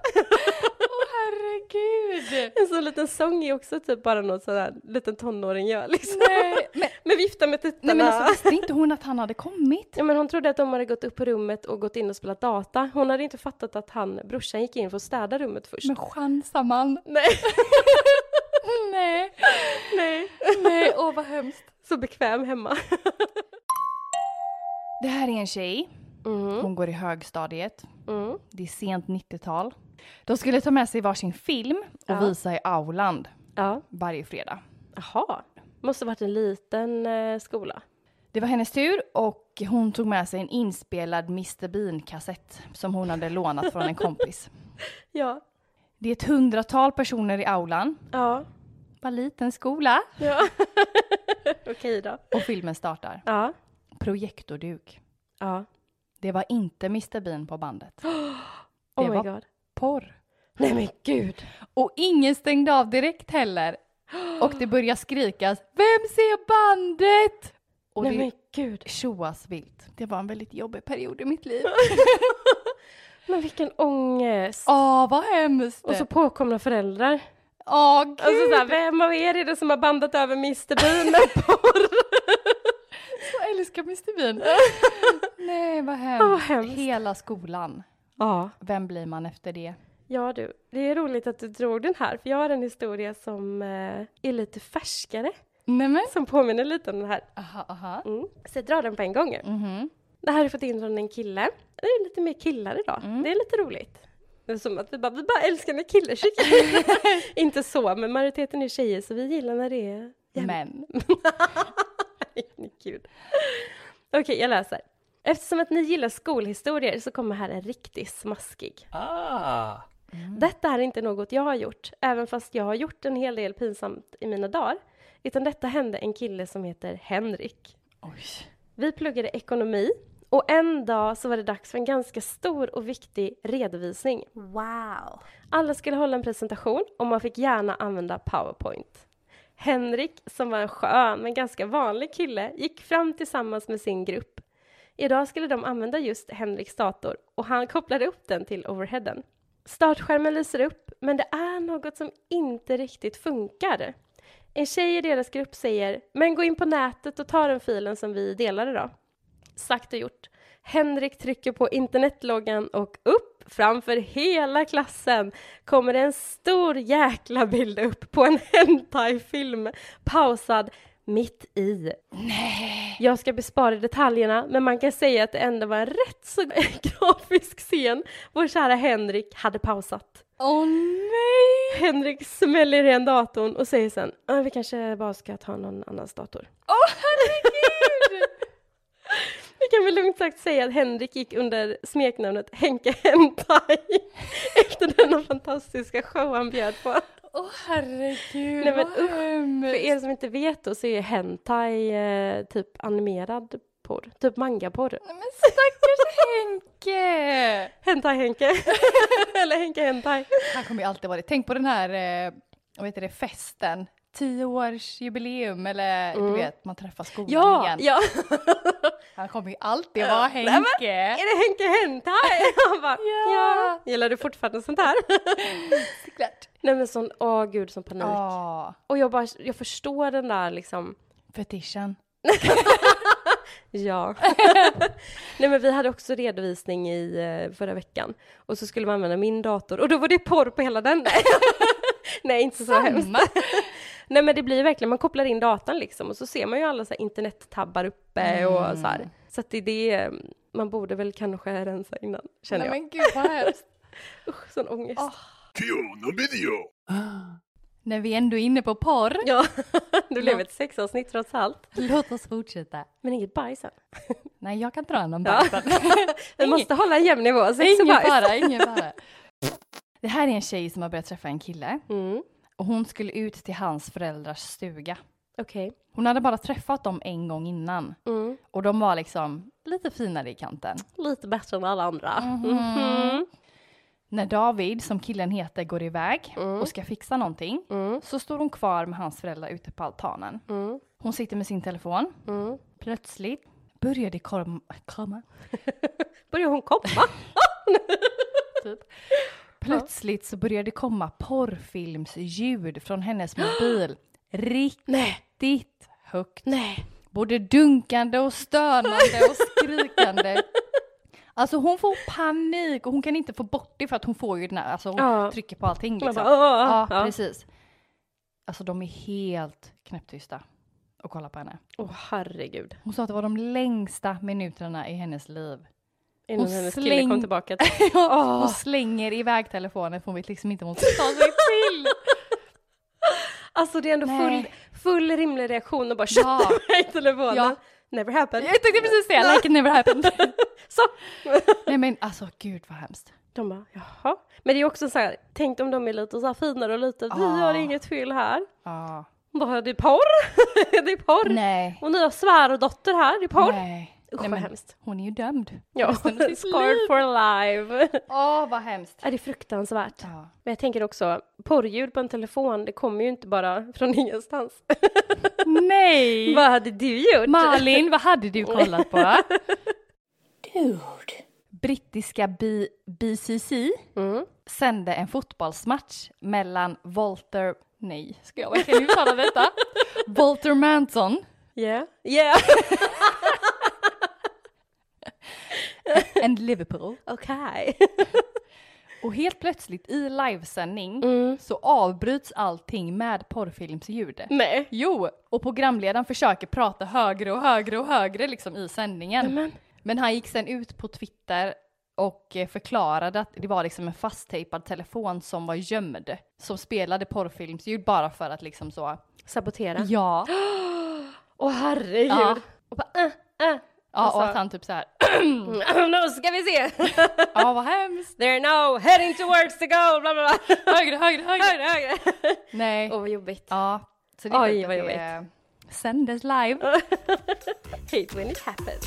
A: Åh herregud!
B: En sån liten sång är också typ bara något sån här liten tonåring gör liksom.
A: Nej, men,
B: Men vifta med tuttarna.
A: nej men alltså visste inte hon att han hade kommit?
B: Ja, men hon trodde att de hade gått upp på rummet och gått in och spelat data. Hon hade inte fattat att han, brorsan gick in för att städa rummet först.
A: Men chansar man?
B: Nej,
A: Nej,
B: nej.
A: nej, åh vad hemskt.
B: Så bekväm hemma.
A: Det här är en tjej,
B: Mm,
A: hon går i högstadiet.
B: mm.
A: Det är sent 90-tal. De skulle ta med sig varsin film och
B: Ja.
A: visa i aulan
B: Ja,
A: varje fredag.
B: jaha. Måste varit en liten eh, skola.
A: Det var hennes tur och hon tog med sig en inspelad Mr Bean-kassett som hon hade lånat från en kompis.
B: Ja.
A: Det är ett hundratal personer i aulan.
B: Ja.
A: Vad liten skola!
B: ja. Okej då.
A: Och filmen startar.
B: Ja.
A: Projektorduk.
B: Ja.
A: Det var inte Mr Bean på bandet.
B: Oh
A: Det
B: my
A: var-
B: god.
A: Porr.
B: Nej men gud.
A: Och ingen stängde av direkt heller. Och det börjar skrikas Vem ser bandet? Och
B: Nej
A: det
B: men gud.
A: tjoas vilt. Det var en väldigt jobbig period i mitt liv.
B: Men vilken ångest.
A: Åh, vad hemskt!
B: Och så påkomna föräldrar.
A: Åh, gud!
B: Alltså såhär, vem av er är det som har bandat över Mr Bean med porr?
A: Jag älskar Mr Bean. Nej, vad hemskt.
B: Åh, hemskt.
A: Hela skolan.
B: Ja.
A: Vem blir man efter det?
B: Ja du, det är roligt att du drog den här för jag har en historia som eh, är lite färskare
A: Nej men.
B: som påminner lite om den här.
A: Aha, aha.
B: Mm. Så jag drar den på en gång.
A: Mhm.
B: Det här har jag fått in från en kille. Det är lite mer killar idag.
A: Mm.
B: Det är lite roligt. Det är som att vi bara, vi bara älskar när killar tycker. Inte så, men majoriteten är tjejer så vi gillar när det är
A: Men.
B: Gud. Okej, jag läser. Eftersom att ni gillar skolhistorier så kommer här en riktigt smaskig.
E: Ah.
B: Detta är inte något jag har gjort, även fast jag har gjort en hel del pinsamt i mina dagar. Utan detta hände en kille som heter Henrik.
A: Oj.
B: Vi pluggade ekonomi och en dag så var det dags för en ganska stor och viktig redovisning.
D: Wow.
B: Alla skulle hålla en presentation och man fick gärna använda powerpoint. Henrik, som var en skön men ganska vanlig kille, gick fram tillsammans med sin grupp. Idag skulle de använda just Henriks dator och han kopplade upp den till overheaden. Startskärmen lyser upp, men det är något som inte riktigt funkar. En tjej i deras grupp säger “men gå in på nätet och ta den filen som vi delade då”. Sagt och gjort. Henrik trycker på internetloggan och upp framför hela klassen kommer en stor jäkla bild upp på en hentai-film pausad mitt i. Nej. Jag ska bespara detaljerna men man kan säga att det ändå var en rätt så grafisk scen vår kära Henrik hade pausat.
A: Åh nej!
B: Henrik smäller igen datorn och säger sen "Ah, vi kanske bara ska ta någon annans dator.
A: Åh herregud!
B: Vi kan väl lugnt sagt säga att Henrik gick under smeknamnet Henke Hentai efter denna fantastiska show han bjöd på.
A: Åh herregud,
B: Nej, men
A: vad
B: usch. För
A: hemskt.
B: er som inte vet då så är Hentai eh, typ animerad porr, typ mangaporr.
A: Nej men stackars Henke!
B: Hentai Henke, eller Henke Hentai.
A: Han kommer ju alltid vara det. Tänk på den här, eh, vad heter det, festen. Tioårsjubileum eller du vet, man träffar skolan
B: Mm. Ja,
A: igen.
B: ja.
A: Han kommer ju alltid vara
B: men-
A: Henke.
B: Är det Henke Hentai? Han bara,
A: Ja.
B: ja. Gillar du fortfarande sånt här?
A: Såklart.
B: Nej men sån, åh gud sån panik.
A: Ja,
B: Och jag bara, jag förstår den där liksom
A: fetischen.
B: Ja. Nej men vi hade också redovisning i eh, förra veckan och så skulle man använda min dator och då var det porr på hela den. Nej inte så hemskt.
A: Samma.
B: Nej men det blir ju verkligen, man kopplar in datan liksom och så ser man ju alla så här internettabbar uppe och så här. Så att det är det, eh, man borde väl kanske rensa innan känner
A: Nej
B: jag.
A: men gud vad hemskt.
B: Usch, sån ångest.
C: Kill the video.
E: Ah,
A: När vi ändå är inne på porr,
B: Ja, det blev ett sexavsnitt trots allt.
A: låt oss fortsätta.
B: Men inget bajs än.
A: Nej, jag kan dra någon
B: Ja.
A: bajsen.
B: Vi måste hålla en jämn nivå, sex och
A: ingen
B: bajs.
A: fara, ingen fara. Det här är en tjej som har börjat träffa en kille
B: Mm,
A: och hon skulle ut till hans föräldrars stuga.
B: Okej.
A: Hon hade bara träffat dem en gång innan
B: Mm.
A: och de var liksom lite finare i kanten.
B: Lite bättre än alla andra.
A: När David, som killen heter, går iväg
B: Mm.
A: och ska fixa någonting så står hon kvar med hans föräldrar ute på altanen.
B: Mm.
A: Hon sitter med sin telefon. Plötsligt börjar det kom- komma.
B: Börjar hon komma?
A: Plöts- plötsligt så började det komma porrfilmsljud från hennes mobil. Riktigt högt.
B: Nej.
A: Både dunkande och stönande och skrikande. Alltså hon får panik och hon kan inte få bort det för att hon får ju den här, alltså hon
B: Ja.
A: trycker på allting liksom.
B: bara, "Åh!"
A: ja,
B: Ja.
A: precis. Alltså de är helt knäpptysta och kollar på henne.
B: Åh herregud.
A: Hon sa att det var de längsta minuterna i hennes liv.
B: Innan
A: Och
B: hennes kille
A: släng-
B: kom tillbaka. till-
A: Hon slänger iväg telefonen för hon vet liksom inte vad hon ska ta sig till.
B: Alltså det är ändå full,
A: Nej.
B: full rimlig reaktion och bara kötta
A: Ja.
B: iväg telefonen.
A: Ja.
B: Never happened.
A: Jag tänkte precis det, like it never happened.
B: Så.
A: Nej men alltså gud vad hemskt.
B: De bara jaha. Men det är också så här, tänk om de är lite så här finare och lite, vi
A: Ah.
B: har inget fel här.
A: Ja.
B: Bara det är porr. det är porr.
A: Nej.
B: Och ni har svärdotter här, det är porr.
A: Nej.
B: Usch,
A: Nej
B: vad
A: men
B: hemskt.
A: hon är ju dömd.
B: Ja,
A: Resten av sitt liv.
B: scarred for life.
A: Åh vad hemskt.
B: är det är fruktansvärt?
A: Ja.
B: Men jag tänker också, porrljud på en telefon, det kommer ju inte bara från ingenstans.
A: Nej!
B: Vad hade du gjort?
A: Malin, vad hade du kollat på?
D: Dude.
A: Brittiska B- BCC
B: Mm.
A: sände en fotbollsmatch mellan Walter... Nej, ska jag verkligen uttala detta? Walter Manson,
B: Yeah. Yeah.
A: and Liverpool.
B: Okej.
A: Och helt plötsligt i livesändning
B: Mm.
A: så avbryts allting med porrfilmsljud.
B: Nej.
A: Jo, och programledaren försöker prata högre och högre och högre liksom i sändningen.
B: Men,
A: Men han gick sen ut på Twitter och eh, förklarade att det var liksom en fasttejpad telefon som var gömd. Som spelade porrfilmsljud bara för att liksom så.
B: sabotera.
A: Ja.
B: Åh herregud.
A: Ja.
B: Och bara, äh, äh.
A: Ja, och att han typ så här.
B: nu ska vi se.
A: Ja, vad hemskt.
B: There are no heading towards to go. Bla, bla, bla.
A: Högre, högre, högre.
B: Högre, högre.
A: Nej.
B: Åh vad jobbigt.
A: Ja. Så det
B: Oj,
A: klart att
B: vad
A: det
B: jobbigt.
A: är- Sändes live.
B: Hate when it happens.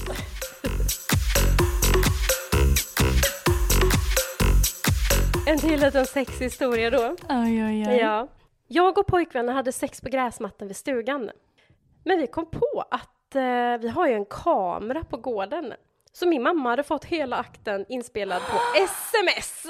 B: En till liten sexhistoria då.
A: Oj, oj, oj.
B: Ja. Jag och pojkvännen hade sex på gräsmattan vid stugan. Men vi kom på att eh, vi har ju en kamera på gården. Så min mamma hade fått hela akten inspelad på sms.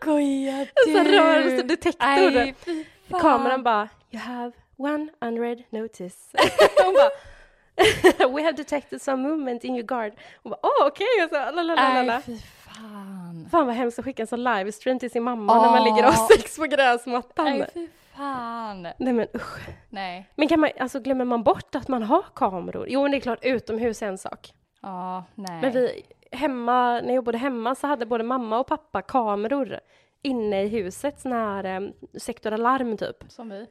A: Skojar
B: Så Alltså, rörelsedetektor.
A: Nej, fy fan.
B: Kameran bara, you have one unread notice. Hon bara, we have detected some movement in your garden. Hon bara, åh okej. Och så, la, la, la, la, la.
A: Nej, fy fan.
B: Fan vad hemskt att skicka en sån livestream till sin mamma när man ligger och har
A: Åh.
B: sex på gräsmattan.
A: Nej,
B: Nej,
A: Ah. fy fan.
B: men usch.
A: Nej.
B: Men kan man, alltså, glömmer man bort att man har kameror? Jo men det är klart, utomhus är en sak.
A: Ja, nej.
B: Men vi, hemma, när jag bodde hemma så hade både mamma och pappa kameror inne i huset, sån här eh, sektor alarm typ.
A: Som vi.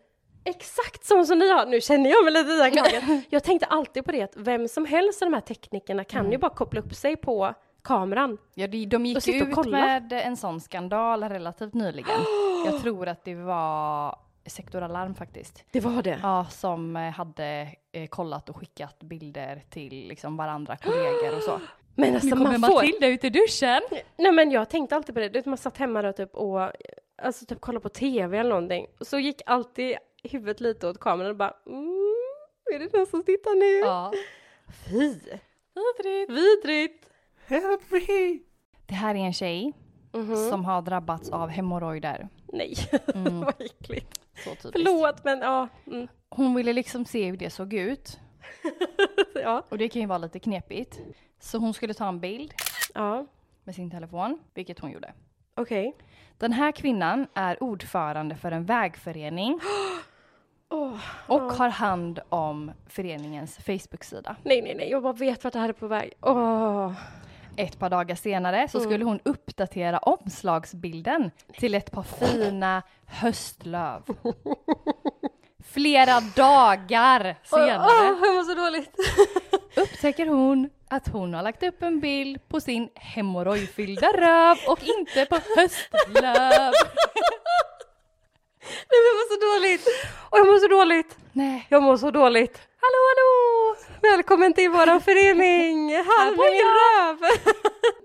B: Exakt som, som ni har, nu känner jag mig lite i anklagen. Jag tänkte alltid på det att vem som helst av de här teknikerna kan ju bara koppla upp sig på kameran.
A: Ja, de, de
B: Och
A: gick
B: sitta
A: ju
B: och
A: ut
B: kolla.
A: med en sån skandal relativt nyligen. Jag tror att det var Sektor Alarm faktiskt.
B: Det var det.
A: Ja, som eh, hade eh, kollat och skickat bilder till liksom varandra, kollegor och så.
B: Men alltså man får...
A: ut i duschen!
B: Nej men jag tänkte alltid på det, Du vet, man satt hemma då typ och eh, alltså, typ kollade på tv eller någonting. Och så gick alltid huvudet lite åt kameran och bara mm, är det någon som tittar nu?
A: Ja.
B: Fy! Vidrigt! Vidrigt!
E: Help me!
A: Det här är en tjej
B: Mhm.
A: som har drabbats av hemorrojder.
B: Nej,
A: Mm.
B: vad äckligt.
A: Så typiskt.
B: Förlåt men ja. Mm.
A: Hon ville liksom se hur det såg ut
B: ja.
A: och det kan ju vara lite knepigt. Så hon skulle ta en bild
B: Ja.
A: med sin telefon, vilket hon gjorde.
B: Okej.
A: Den här kvinnan är ordförande för en vägförening
B: Åh.
A: och har hand om föreningens Facebook-sida.
B: Nej, nej, nej, jag bara vet vart det här är på väg. Åh,
A: Ett par dagar senare så
B: Mm.
A: skulle hon uppdatera omslagsbilden till ett par fina höstlöv. Flera dagar senare
B: Åh, jag mår så dåligt.
A: upptäcker hon att hon har lagt upp en bild på sin hemorrojdfyllda röv och inte på höstlöv.
B: Nej, men jag mår så dåligt. Och jag mår så dåligt.
A: Nej.
B: Jag mår så dåligt. Hallå, hallå! Välkommen till våran förening. Här med min röv.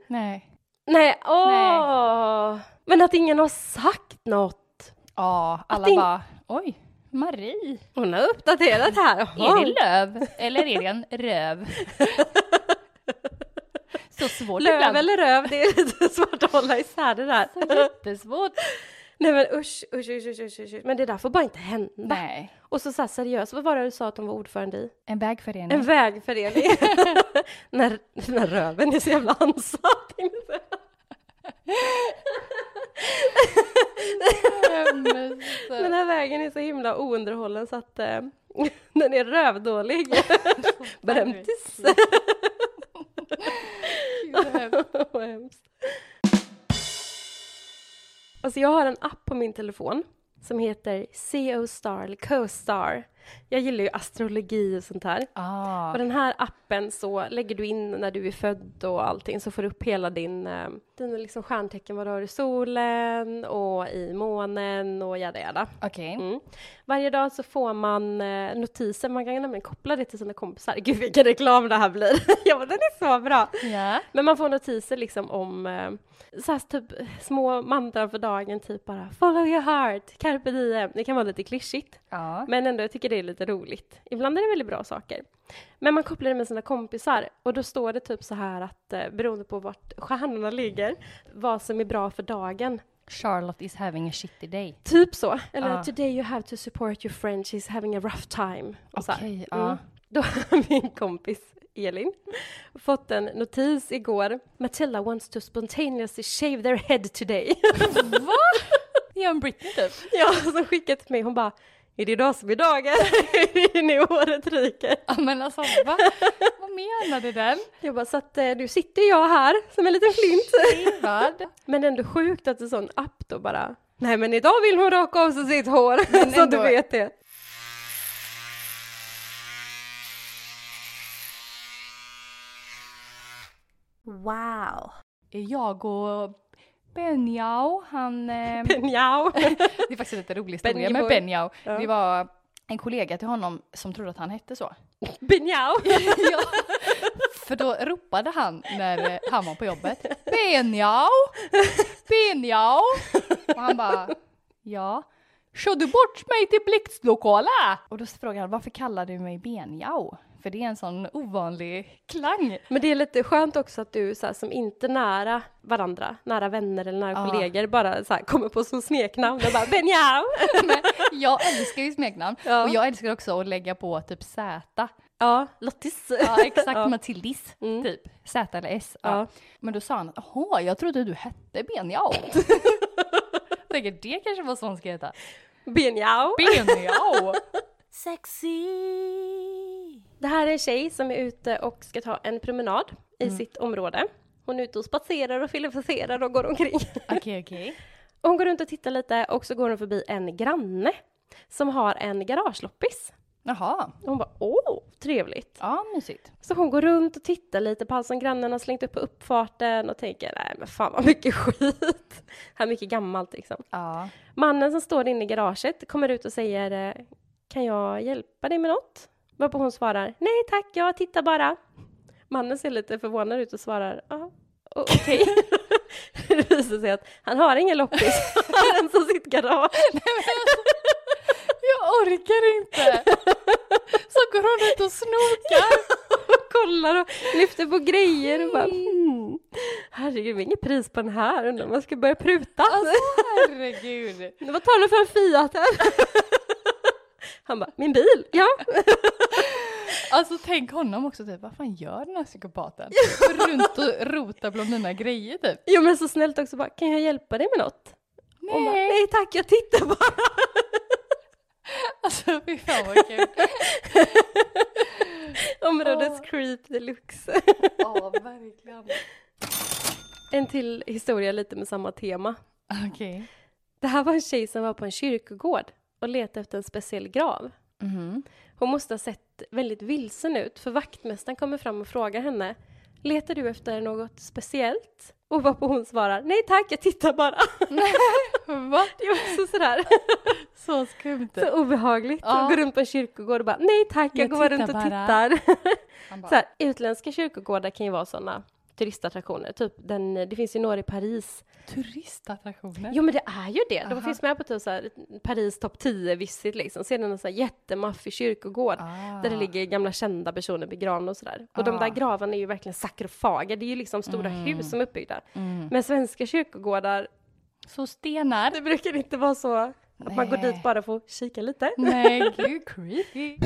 A: Nej.
B: Nej, åh. Men att ingen har sagt något.
A: Ja, alla
B: det-
A: bara oj, Marie.
B: Hon har uppdaterat här.
A: Är det löv eller är det en röv? så svårt
B: Löv
A: ibland.
B: eller röv, det är lite svårt att hålla isär det där.
A: Så jättesvårt.
B: Nej men usch, usch, usch, usch, usch, usch. Men det där får bara inte hända.
A: Nej.
B: Och så, så här, seriöst, vad var det du sa att de var ordförande i?
A: En vägförening.
B: En vägförening. när, när röven är så jävla ansatt. tänkte jag säga. Den här vägen är så himla ounderhållen så att eh, den är rövdålig. Berömtis. Vad hemskt. Alltså jag har en app på min telefon som heter CO Star eller CoStar. Jag gillar ju astrologi och sånt här.
A: ah,
B: På den här appen så lägger du in när du är född och allting så får du upp hela din, eh, dina liksom stjärntecken, vad du har i solen och i månen och jada jada.
A: Okej.
B: Mm. Varje dag så får man eh, notiser, man kan ju nämligen koppla det till sina kompisar. Gud vilken reklam det här blir! ja men den är så bra!
A: Ja.
B: Men man får notiser liksom om eh, så här, typ små mantran för dagen, typ bara follow your heart, carpe diem. Det kan vara lite klyschigt.
A: Ja.
B: Men ändå, jag tycker det är lite roligt. Ibland är det väldigt bra saker. Men man kopplar det med sina kompisar och då står det typ så här att eh, beroende på vart stjärnorna ligger, vad som är bra för dagen.
A: Charlotte is having a shitty day.
B: Typ så. Eller
A: Ah.
B: “Today you have to support your friend, she's having a rough time”. Och så här.
A: Okej,
B: Mm.
A: ja.
B: Då har min kompis Elin fått en notis igår. “Matilda wants to spontaneously shave their head today”.
A: Va? Det är en Britney typ.
B: ja, så skickade till mig. Hon bara “Är det idag som är dagen? är det nu året ryker?”
A: Ja men alltså va? Vad menade den?
B: Jag bara, så att eh, nu sitter jag här som en liten flint.
A: Vad?
B: Men ändå sjukt att en sån app då bara, nej men idag vill hon raka av sig sitt hår, så
A: ändå-
B: du vet det.
D: Wow.
A: Jag och Benjao, han... Eh,
B: Njau.
A: det är faktiskt en lite rolig historia
B: Benjiboy.
A: med Benjao.
B: Ja.
A: Det var en kollega till honom som trodde att han hette så.
B: Benjau.
A: ja. För då ropade han när eh, han var på jobbet. Benjao! Benjao! Och han bara, ja. Kör du bort mig till blixtlokala? Och då frågade han, varför kallar du mig Benjao? För det är en sån ovanlig klang.
B: Men det är lite skönt också att du så här, som inte är nära varandra, nära vänner eller nära
A: Ja.
B: kollegor, bara så här, kommer på som smeknamn och bara Benjau.
A: Men jag älskar ju smeknamn.
B: Ja.
A: Och jag älskar också att lägga på typ Z.
B: Ja, Lottis.
A: Ja, exakt.
B: Ja.
A: Matildis, typ. Z eller S. Ja.
B: Ja.
A: Men då sa han, jaha, jag trodde du hette Benjao. Jag tänker, det kanske var så hon ska heta.
B: Benjau.
A: Benjao!
D: Sexy.
B: Det här är en tjej som är ute och ska ta en promenad i sitt område. Hon är ute och spatserar och filosoferar och går omkring.
A: Okej, okej.
B: Och Hon går runt och tittar lite och så går hon förbi en granne som har en garageloppis.
A: Jaha,
B: Och Hon bara åh, trevligt.
A: ja mysigt.
B: Så hon går runt och tittar lite på allt som grannen har slängt upp på uppfarten och tänker nej men fan vad mycket skit. Här är mycket gammalt liksom.
A: Ja.
B: Mannen som står inne i garaget kommer ut och säger eh, kan jag hjälpa dig med något? Varpå hon svarar nej tack, jag tittar bara. Mannen ser lite förvånad ut och svarar ja, o- okej. det visar sig att han har ingen loppis, han rensar sitt garage.
A: Jag orkar inte! Så går hon ut och snokar.
B: och kollar och lyfter på grejer och bara mm. Herregud, det är inget pris på den här, undrar om man ska börja pruta.
A: Alltså herregud.
B: Vad tar du för en Fiat här? Han bara, min bil? Ja.
A: Alltså tänk honom också typ, vad fan gör den här psykopaten? Går Runt och rotar bland mina grejer typ.
B: Jo men så snällt också bara, kan jag hjälpa dig med något? Hon bara,
A: Nej!
B: nej tack, jag tittar bara.
A: Alltså fy fan vad kul.
B: Områdets
A: Åh.
B: creep deluxe.
A: Ja, verkligen.
B: En till historia lite med samma tema.
A: Okej.
B: Det här var en tjej som var på en kyrkogård och letade efter en speciell grav.
A: Mhm.
B: Hon måste ha sett väldigt vilsen ut för vaktmästaren kommer fram och frågar henne Letar du efter något speciellt? Och varpå hon svarar Nej tack, jag tittar bara.
A: Va?
B: Det är också sådär
A: Så skumt.
B: så obehagligt.
A: Ja.
B: Hon går runt på en kyrkogård och bara Nej tack, jag,
A: Jag
B: går
A: tittar
B: runt och
A: bara."
B: tittar.
A: Han bara,
B: Såhär, utländska kyrkogårdar kan ju vara sådana turistattraktioner. Typ den, det finns ju några i Paris.
A: Turistattraktioner?
B: Jo men det är ju det. De
A: Aha.
B: finns med på typ så här, Paris topp 10 visit liksom. Ser den en sån här jättemaffig kyrkogård.
A: Ah.
B: Där det ligger gamla kända personer begravna och sådär. Och de
A: Ah.
B: där gravarna är ju verkligen sakrofager. Det är ju liksom stora hus som är uppbyggda.
A: Mm.
B: Men svenska kyrkogårdar,
A: Så stenar?
B: det brukar inte vara så att man går
A: Nej.
B: dit bara för att kika lite.
A: Nej, gud creepy.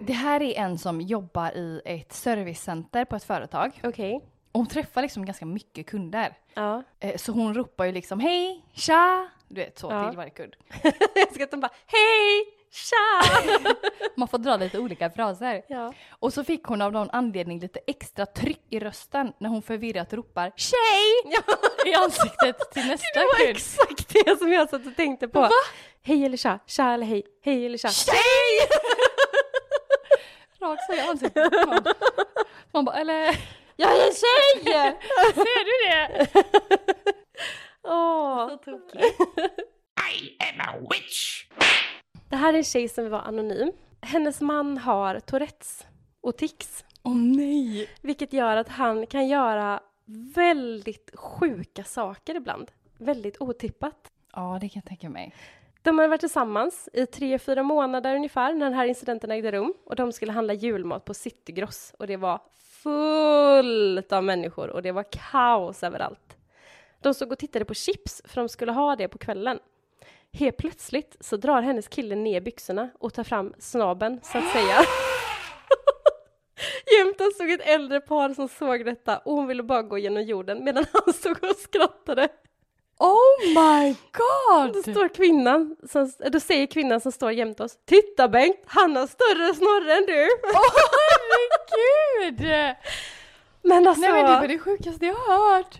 A: Det här är en som jobbar i ett servicecenter på ett företag.
B: Okej.
A: Och hon träffar liksom ganska mycket kunder.
B: Ja.
A: Eh, Så hon ropar ju liksom hej, tja, du vet så
B: Ja.
A: till varje kund.
B: Jag ska att de bara hej, tja!
A: Man får dra lite olika fraser.
B: Ja.
A: Och så fick hon av någon anledning lite extra tryck i rösten när hon förvirrat ropar tjej
B: ja.
A: i ansiktet till nästa
B: Det var
A: kund.
B: exakt det som jag satt och tänkte på.
A: Va?
B: Hej eller tja, tja eller hej, hej eller tja.
A: Tjej! Rakt så i ansiktet på någon. Man bara eller
B: Jag är en tjej!
A: ser du det?
B: Åh. Det här är en tjej som vill vara anonym. Hennes man har Tourettes och tics,
A: Åh nej!
B: vilket gör att han kan göra väldigt sjuka saker ibland. Väldigt otippat.
A: Ja det kan jag tänka mig.
B: De har varit tillsammans i tre, fyra månader ungefär när den här incidenten ägde rum och de skulle handla julmat på Citygross och det var fullt av människor och det var kaos överallt. De såg och tittade på chips för de skulle ha det på kvällen. Helt plötsligt så drar hennes kille ner byxorna och tar fram snaben så att säga. Jämtan stod ett äldre par som såg detta och hon ville bara gå genom jorden medan han stod och skrattade.
A: Oh my god!
B: Då står kvinnan, som, då säger kvinnan som står jämte oss Titta Bengt, han har större snorre än du!
A: Åh herregud!
B: Men alltså,
A: Nej men det var
B: men,
A: det sjukaste jag har hört.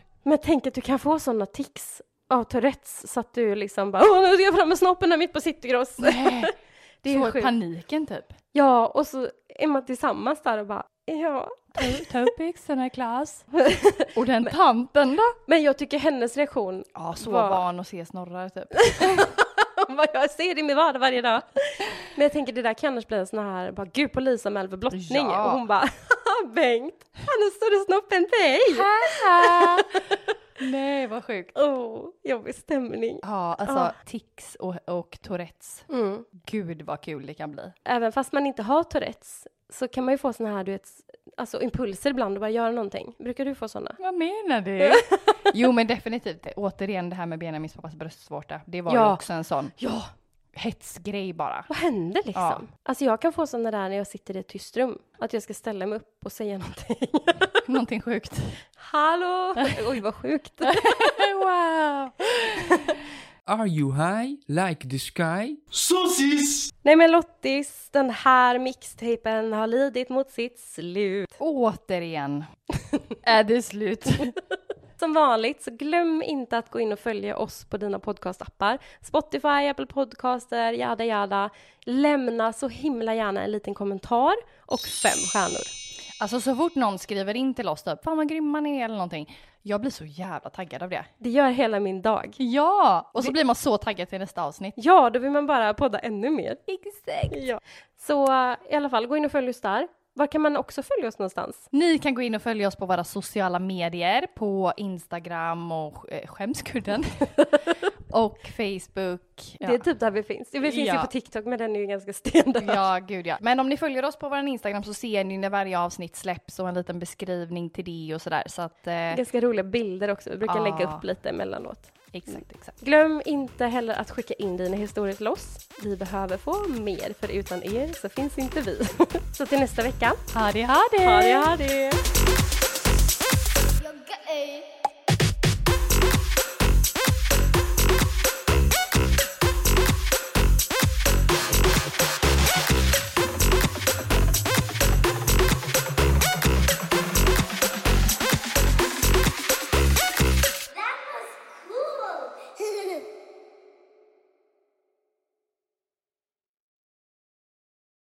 B: tänk att du kan få sådana tics av Tourettes så att du liksom bara Åh, nu ska jag fram med snoppen här mitt på Citygross!
A: Nej,
B: Det är ju
A: så
B: sjukt.
A: paniken typ.
B: Ja, och så är man tillsammans där och bara Ja.
A: Ta- Ta upp byxorna Klas. Och den tanten då?
B: Men jag tycker hennes reaktion,
A: Ja så
B: Vad?
A: van att se snorrar typ.
B: vad jag ser i min vardag varje dag. Men jag tänker det där kan annars bli en sån här, bara gud polisanmäld för blottning.
A: Ja.
B: Och hon bara, "Haha, Bengt, han har större snopp än dig!
A: Nej vad sjukt.
B: Oh, jobbig stämning.
A: Ja alltså
B: Ja.
A: tics och, och tourettes.
B: Mm.
A: Gud vad kul det kan bli.
B: även fast man inte har Tourettes så kan man ju få såna här du vet, alltså impulser ibland och bara göra någonting. Brukar du få såna?
A: Vad menar du? jo men definitivt. Återigen det här med Benjamins pappas bröstvårta. Det var ju
B: Ja.
A: också en sån
B: Ja!
A: hetsgrej bara.
B: Vad händer liksom?
A: Ja.
B: Alltså jag kan få såna där när jag sitter i ett tyst rum. Att jag ska ställa mig upp och säga någonting.
A: Någonting sjukt.
B: Hallå! Oj vad sjukt.
A: wow!
E: Are you high like the sky?
C: Saucisse
B: Nej men Lottis, den här mixtapen har lidit mot sitt slut.
A: Återigen är det slut.
B: Som vanligt så glöm inte att gå in och följa oss på dina podcastappar. Spotify, Apple Podcaster, jada jada. Lämna så himla gärna en liten kommentar och fem stjärnor.
A: Alltså så fort någon skriver in till oss typ, fan vad grymma ni är eller någonting. Jag blir så jävla taggad av det.
B: Det gör hela min dag.
A: Ja! Och så blir man så taggad till nästa avsnitt.
B: Ja, då vill man bara podda ännu mer.
A: Exakt.
B: Ja. Så eh, i alla fall, gå in och följ oss där. Var kan man också följa oss någonstans?
A: Ni kan gå in och följa oss på våra sociala medier, på Instagram och eh, skämskudden. och Facebook. Ja.
B: Det är typ där vi finns. Vi finns ju
A: Ja.
B: på TikTok, men den är ju ganska stendöd.
A: Ja, gud ja. Men om ni följer oss på vår Instagram så ser ni när varje avsnitt släpps och en liten beskrivning till det och sådär. Så att, eh,
B: Ganska roliga bilder också. Vi brukar
A: Ah.
B: lägga upp lite emellanåt.
A: exakt, exakt.
B: Glöm inte heller att skicka in dina historier till oss. Vi behöver få mer, för utan er så finns inte vi. så till nästa vecka.
A: Ha det, ha det!
B: Ha det, ha det!
D: You're gay.